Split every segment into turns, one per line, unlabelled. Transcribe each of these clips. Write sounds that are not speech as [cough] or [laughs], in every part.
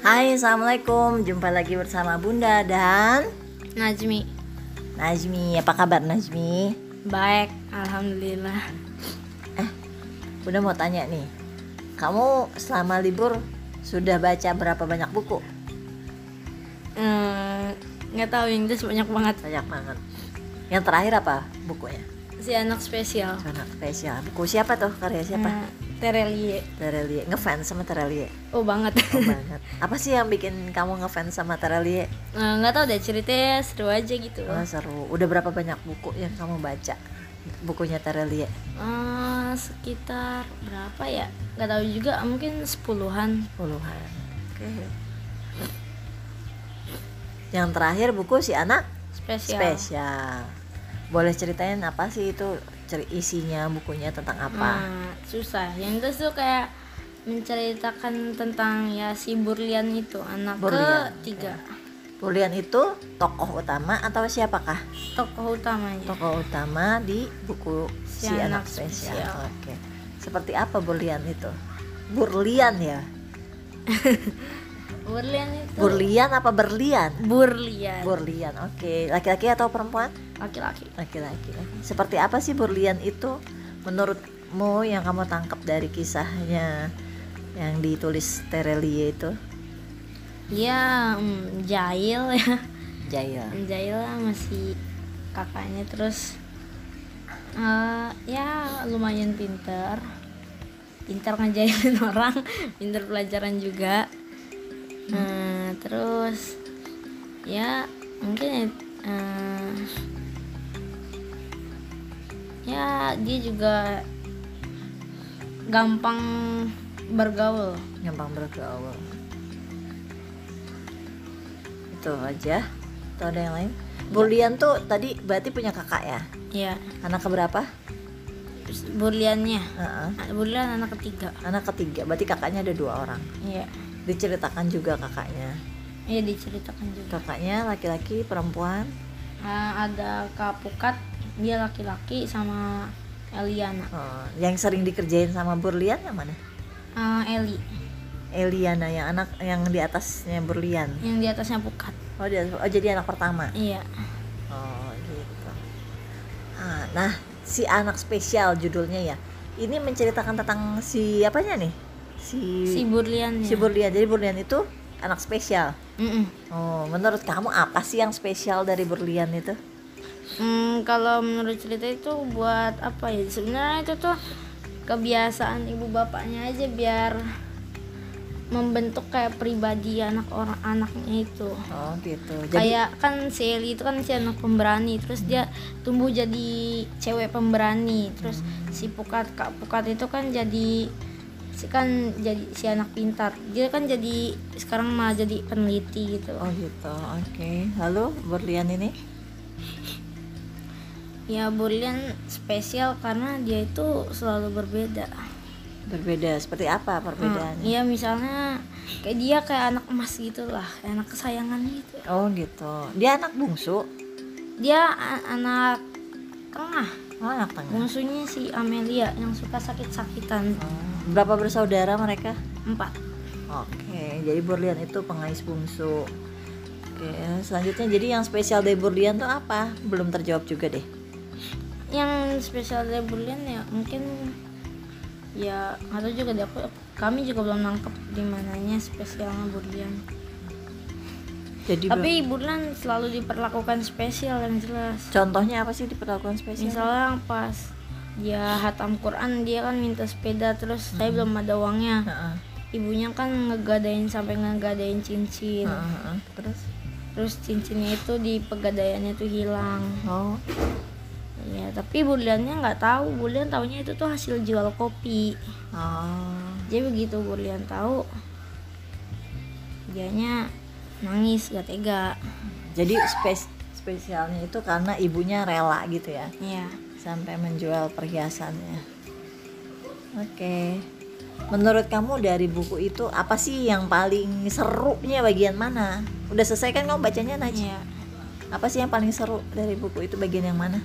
Hai, Assalamualaikum Jumpa lagi bersama Bunda dan
Najmi
Najmi Apa kabar Najmi?
Baik, alhamdulillah.
Bunda mau tanya nih Kamu selama libur sudah baca berapa banyak buku?
Eh, Nggak tahu Inggris banyak banget.
Banyak banget Yang terakhir apa bukunya?
Si anak spesial.
Anak spesial Buku siapa tuh? Karya siapa?
Eh, Terelie.
Terelie Ngefans sama Terelie
Oh [laughs] banget.
Oh, banget [laughs] Apa sih yang bikin kamu ngefans sama Terelie?
Eh, Nggak tahu deh ceritanya seru aja gitu.
Wah seru Udah berapa banyak buku yang kamu baca? Bukunya Terelie
Eh, sekitar berapa ya? Nggak tahu juga. Mungkin sepuluhan.
puluhan oke yang terakhir buku si anak
Spesial.
spesial boleh ceritain apa sih itu ceri isinya bukunya tentang apa
Nah, susah. Yang itu tuh kayak menceritakan tentang ya si Burlian itu anak
Burlian,
ketiga
Bulian itu tokoh utama atau siapakah
tokoh utamanya.
tokoh utama di buku si,
Si
anak
Anak
spesial,
Spesial.
oke seperti apa Bulian itu Burlian ya
Burlian itu.
Burlian apa berlian
Burlian.
Burlian oke laki-laki atau perempuan
Laki-laki.
laki-laki. Seperti apa sih Burlian itu menurutmu yang kamu tangkap dari kisahnya yang ditulis Terelie itu?
dia mm, jahil ya
Jaya.
jahil lah masih kakaknya terus eh, ya lumayan pinter pinter ngejailin [laughs] orang pinter pelajaran juga Eh, terus ya mungkin eh, ya dia juga gampang bergaul
Gampang bergaul. Itu aja. Atau ada yang lain? Burlian tuh tadi berarti punya kakak ya?
ya
Anak keberapa?
burliannya
Heeh.
Bulan anak ketiga.
Anak ketiga. Berarti kakaknya ada dua orang.
Iya.
Diceritakan juga kakaknya.
Iya diceritakan juga.
Kakaknya laki-laki, perempuan.
Ah, ada Kapukat, dia laki-laki sama Eliana.
Eh, yang sering dikerjain sama Burlian yang mana?
Ah, Eli
Eliana yang anak yang di atasnya berlian.
yang di atasnya Pukat.
Oh, dia, oh jadi anak pertama.
Iya.
Oh gitu. Ah, nah si anak spesial judulnya ya. Ini menceritakan tentang si apanya nih? Si
Si Burliannya.
si berlian. Jadi berlian itu anak spesial.
Mm-mm.
Oh, menurut kamu apa sih yang spesial dari berlian itu?
Hmm, kalau menurut cerita itu buat apa ya? Sebenarnya itu tuh kebiasaan ibu bapaknya aja biar membentuk kayak pribadi anak orang anaknya itu.
Oh gitu. Jadi
kayak kan si Eli itu kan si anak pemberani terus dia tumbuh jadi cewek pemberani terus si Pukat Kak Pukat itu kan jadi si kan jadi si anak pintar dia kan jadi sekarang malah jadi peneliti gitu
oh gitu. Oke. Lalu berlian ini?
ya Burlian spesial karena dia itu selalu berbeda
Berbeda. Seperti apa perbedaannya?
Iya misalnya kayak dia kayak anak emas gitu lah kayak anak kesayangan gitu
Oh gitu. Dia anak bungsu.
dia a- anak tengah
Oh, anak tengah.
musuhnya si Amelia yang suka sakit-sakitan
Berapa bersaudara mereka?
empat
Oke, jadi Burlian itu pengais bungsu. Oke, selanjutnya jadi yang spesial dari Burlian tuh apa? Belum terjawab juga deh.
yang spesial dari bulan ya mungkin ya atau juga deh aku kami juga belum nangkep di mananya spesialnya bulan
Jadi ber-
tapi bulan selalu diperlakukan spesial yang jelas
contohnya apa sih diperlakukan spesial?
misalnya pas dia hatam Quran dia kan minta sepeda terus saya belum ada uangnya
Heeh,
ibunya kan ngegadain sampai ngegadain cincin
heeh, heeh. Terus?
terus cincinnya itu di pegadaiannya tuh hilang
Oh,
ya tapi bulannya nggak tahu bulan tahunya itu tuh hasil jual kopi
oh,
Jadi begitu Burlian tahu dianya nangis gak tega.
jadi spes- spesialnya itu karena ibunya rela gitu ya,
Iya.
sampai menjual perhiasannya. Oke, menurut kamu dari buku itu apa sih yang paling serunya bagian mana? Udah selesai kan kamu bacanya Najwa?
Iya.
apa sih yang paling seru dari buku itu bagian yang mana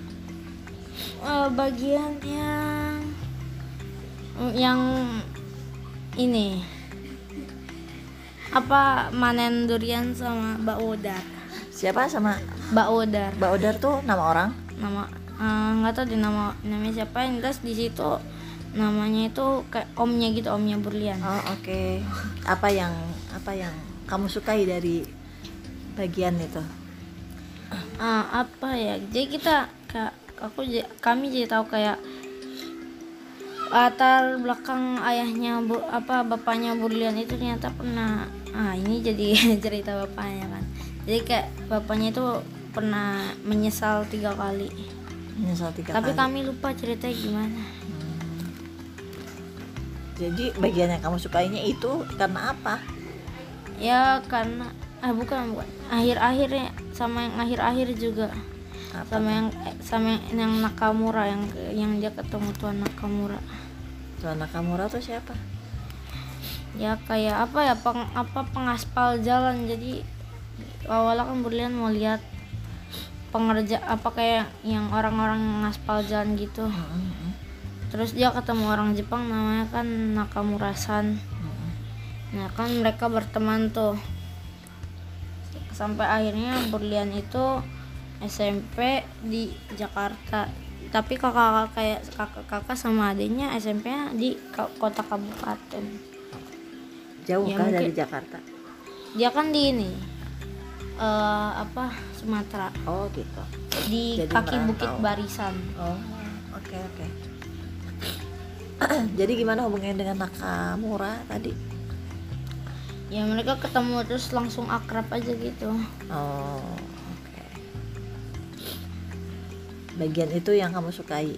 Eh, bagian yang yang ini apa manen durian sama Mbak Odar.
Siapa sama
Mbak Odar
Mbak Odar tuh nama orang?
nama eh, nggak tahu di nama namanya siapa yang jelas di situ namanya itu kayak omnya gitu omnya Burlian.
Oh oke. Apa yang apa yang kamu sukai dari bagian itu?
Ah, apa ya jadi kita kayak aku j- kami jadi tahu kayak latar belakang ayahnya Bu- apa bapaknya Burlian itu ternyata pernah ah ini jadi [laughs] cerita bapaknya kan jadi kayak bapaknya itu pernah menyesal tiga kali
Menyesal tiga
tapi
kali.
kami lupa ceritanya gimana
Jadi bagian yang kamu sukainya itu karena apa?
ya karena ah bukan bukan akhir-akhirnya sama yang akhir-akhir juga
Apa
sama yang eh, sama yang, yang Nakamura yang yang dia ketemu tuan Nakamura
Tuan Nakamura tuh siapa?
ya kayak apa ya peng, apa pengaspal jalan jadi awalnya kan Burlian mau lihat pengerja apa kayak yang orang-orang yang ngaspal jalan gitu
Mm, mm,
terus dia ketemu orang Jepang namanya kan Nakamura-san
mm.
Nah kan mereka berteman tuh Sampai akhirnya Berlian itu SMP di Jakarta Tapi kakak kayak kakak-kakak sama adiknya SMP-nya di ka- kota kabupaten
Jauh
Ya,
kah dari
mungkin-
Jakarta?
Dia kan di ini eh, apa Sumatera
Oh gitu.
di
Jadi
kaki
merantau.
Bukit Barisan
Oh oke oke. [clears throat] Jadi gimana hubungannya dengan Nakamura tadi?
ya mereka ketemu terus langsung akrab aja gitu
Oh oke. Bagian itu yang kamu sukai?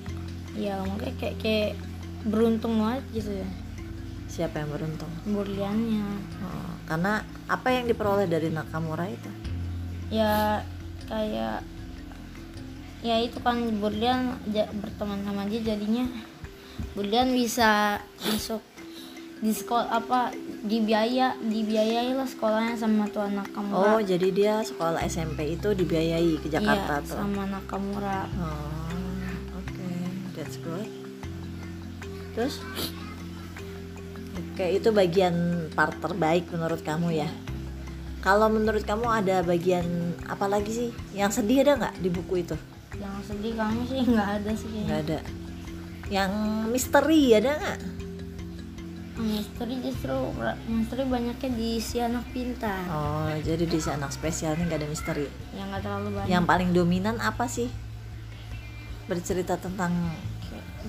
ya mungkin kayak kayak beruntung banget gitu ya
Siapa yang beruntung?
Berliannya
Oh, karena apa yang diperoleh dari Nakamura itu?
ya kayak ya itu kan Burlian ja- berteman sama dia jadinya Burlian bisa masuk di sekolah apa dibiaya dibiayai lah sekolahnya sama tuan
Oh,
Nakamura
jadi dia sekolah SMP itu dibiayai ke Jakarta
iya,
tuh.
sama Nakamura
Oh, oke, that's good. Terus, oke itu bagian part terbaik menurut kamu ya. Kalau menurut kamu ada bagian apa lagi sih? Yang sedih ada nggak di buku itu?
yang sedih kamu sih [laughs] nggak ada sih
Nggak
kayaknya
ada. Yang misteri ada nggak?
misteri justru misteri banyaknya di si anak pintar
Oh, jadi di si anak spesial ini nggak ada misteri.
yang nggak terlalu banyak
Yang paling dominan apa sih? Bercerita tentang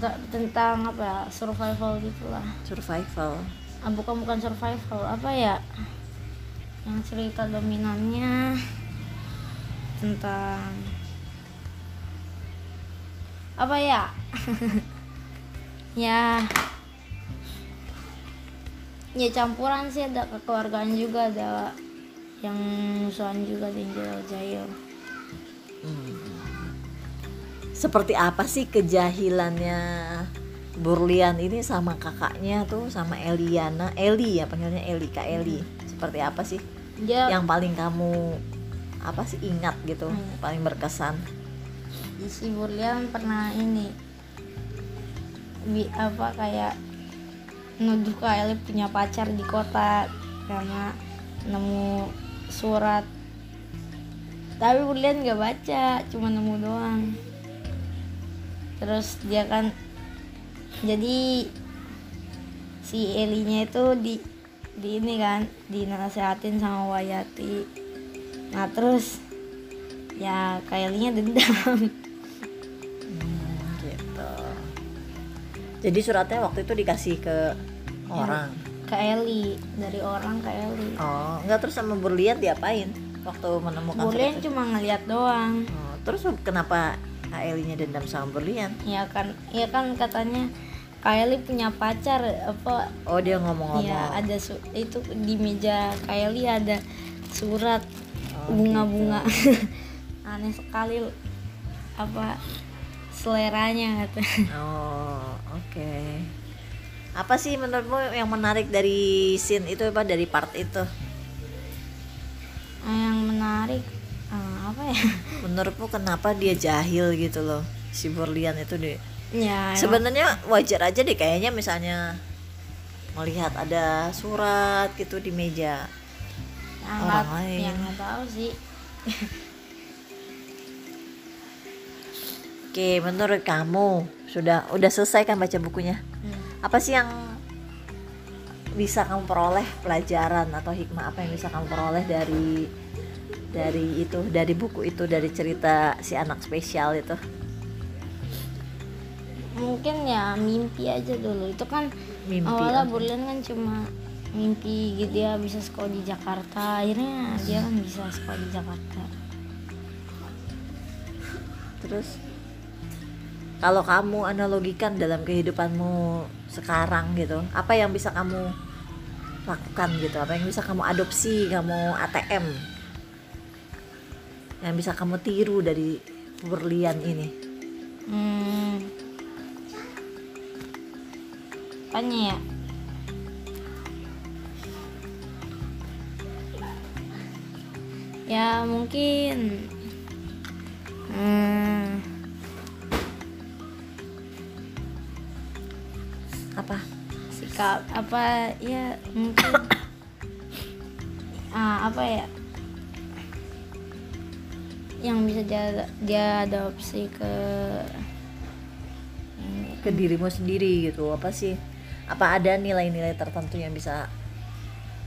Nggak- tentang apa ya survival gitulah
survival.
ah, bukan bukan survival apa ya yang cerita dominannya tentang apa ya [laughs] ya ya campuran sih ada kekeluargaan juga ada yang musuhan juga ada yang jahil
seperti apa sih kejahilannya Burlian ini sama kakaknya tuh sama Eliana Eli ya panggilnya Eli kak Eli seperti apa sih
dia
yang paling kamu apa sih ingat gitu
Hmm.
paling berkesan
si Burlian pernah ini bi apa kayak nuduh Kak Eli punya pacar di kota karena nemu surat tapi Burlian nggak baca cuma nemu doang terus dia kan jadi si Elinya itu di di ini kan dinasehatin sama Wayati nah terus ya Kaelinya dendam
Hmm, gitu jadi suratnya waktu itu dikasih ke orang
ke Eli dari orang ke Eli
oh nggak terus sama Burlian diapain waktu menemukan surat
Bulian
itu?
cuma ngeliat doang
Oh, terus kenapa Kak Elinya dendam sama Burlian
ya kan ya kan katanya Kak Eli punya pacar apa
oh dia ngomong-ngomong
ya ada su- itu di meja Kak Eli ada surat
Oh,
bunga-bunga [laughs] aneh sekali apa seleranya kata
Oh, oke. Apa sih menurutmu yang menarik dari scene itu apa dari part itu?
Ah, yang menarik ah, apa ya [laughs]
Menurutmu kenapa dia jahil gitu loh? Si Burlian itu deh.
ya emang-
Sebenarnya wajar aja deh kayaknya misalnya melihat ada surat gitu di meja
Yang
Orang
nggak-
lain.
yang nggak tahu sih
Oke, menurut kamu sudah udah selesai kan baca bukunya?
Hmm.
Apa sih yang bisa kamu peroleh pelajaran atau hikmah apa yang bisa kamu peroleh dari dari itu, dari buku itu, dari cerita si anak spesial itu?
mungkin ya mimpi aja dulu itu kan
Mimpi.
awalnya
oke.
Burlen kan cuma mimpi gitu dia bisa sekolah di Jakarta akhirnya dia kan bisa sekolah di Jakarta
Terus kalau kamu analogikan dalam kehidupanmu sekarang gitu, apa yang bisa kamu lakukan gitu? Apa yang bisa kamu adopsi, kamu ATM? Yang bisa kamu tiru dari berlian ini?
hmm. apanya ya ya mungkin hmm,
Apa?
sikap apa ya mungkin ah apa ya yang bisa dia dia adopsi ke
Ke dirimu sendiri gitu, apa sih? Apa ada nilai-nilai tertentu yang bisa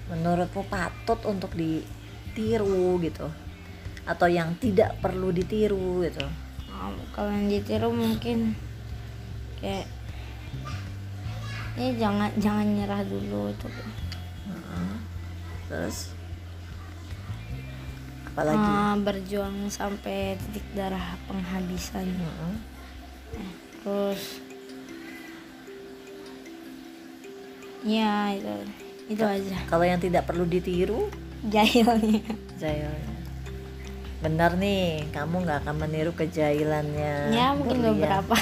menurutmu patut untuk ditiru gitu? Atau yang tidak perlu ditiru gitu?
um, kalau yang ditiru mungkin kayak ini jangan jangan nyerah dulu tuh
Terus apalagi?
Ah, berjuang sampai titik darah penghabisan
Mm-mm.
terus ya itu itu aja [laughs]
Kalau yang tidak perlu ditiru,
jahilnya
jahilnya. Benar nih, kamu nggak akan meniru Iya. kejahilannya.
ya mungkin
Berlian.
beberapa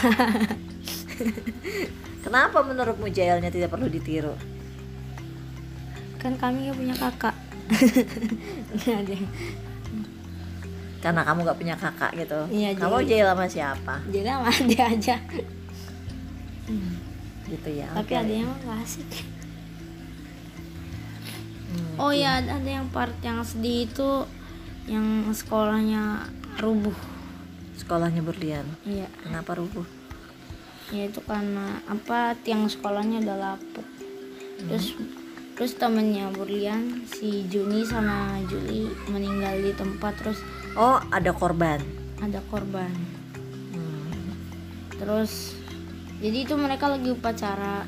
Kenapa menurutmu jahilnya tidak perlu ditiru?
[laughs] kan kami nggak punya [laughs] kakak Nggak ada yang-
Karena kamu nggak punya kakak gitu.
Iya,
kamu
jadi-
jahil sama siapa?
jadi sama dia aja
Gitu ya. oke.
tapi ada yang nggak asik
Hmm.
oh ya ada ada yang part yang sedih itu yang sekolahnya rubuh
Sekolahnya berlian.
iya
Kenapa rubuh?
ya itu karena apa tiang sekolahnya udah lapuk terus terus temennya Burlian si Juni sama Juli meninggal di tempat terus
Oh, ada korban.
ada korban
Hmm.
terus jadi itu mereka lagi upacara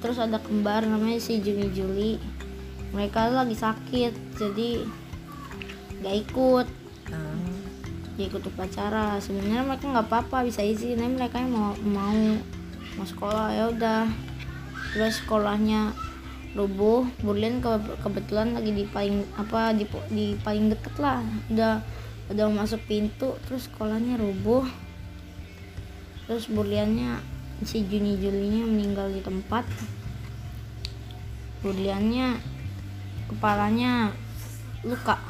terus ada kembar namanya si Juni Juli mereka lagi sakit jadi gak ikut
Hmm.
gak ikut upacara sebenarnya mereka nggak apa-apa bisa izin tapi mereka yang mau mau mau sekolah ya udah terus sekolahnya rubuh Burlin ke- kebetulan lagi di paling apa di, di paling deket lah udah udah masuk pintu terus sekolahnya rubuh terus Burliannya si Juni Julinya meninggal di tempat Burliannya kepalanya luka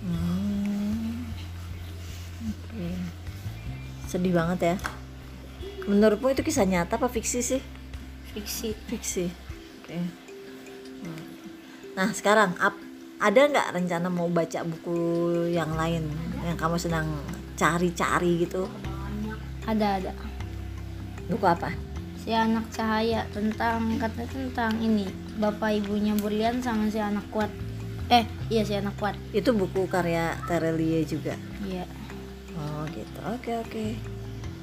Hmm. Oke. Sedih banget ya. Menurutmu itu kisah nyata apa fiksi sih?
fiksi
Fiksi. Oke. Hmm. Nah sekarang ap- ada nggak rencana mau baca buku yang lain yang kamu sedang cari-cari gitu?
ada ada
Buku apa?
si anak cahaya tentang kata tentang ini bapak ibunya Burlian sama si anak kuat eh iya si anak kuat
Itu buku karya Terelie juga.
iya
Oh gitu. Oke oke.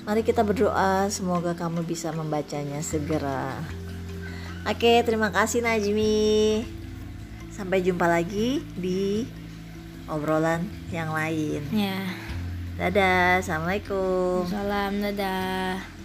Mari kita berdoa semoga kamu bisa membacanya segera. Oke, terima kasih Najmi. Sampai jumpa lagi di obrolan yang lain.
ya
Dadah, assalamualaikum.
salam dadah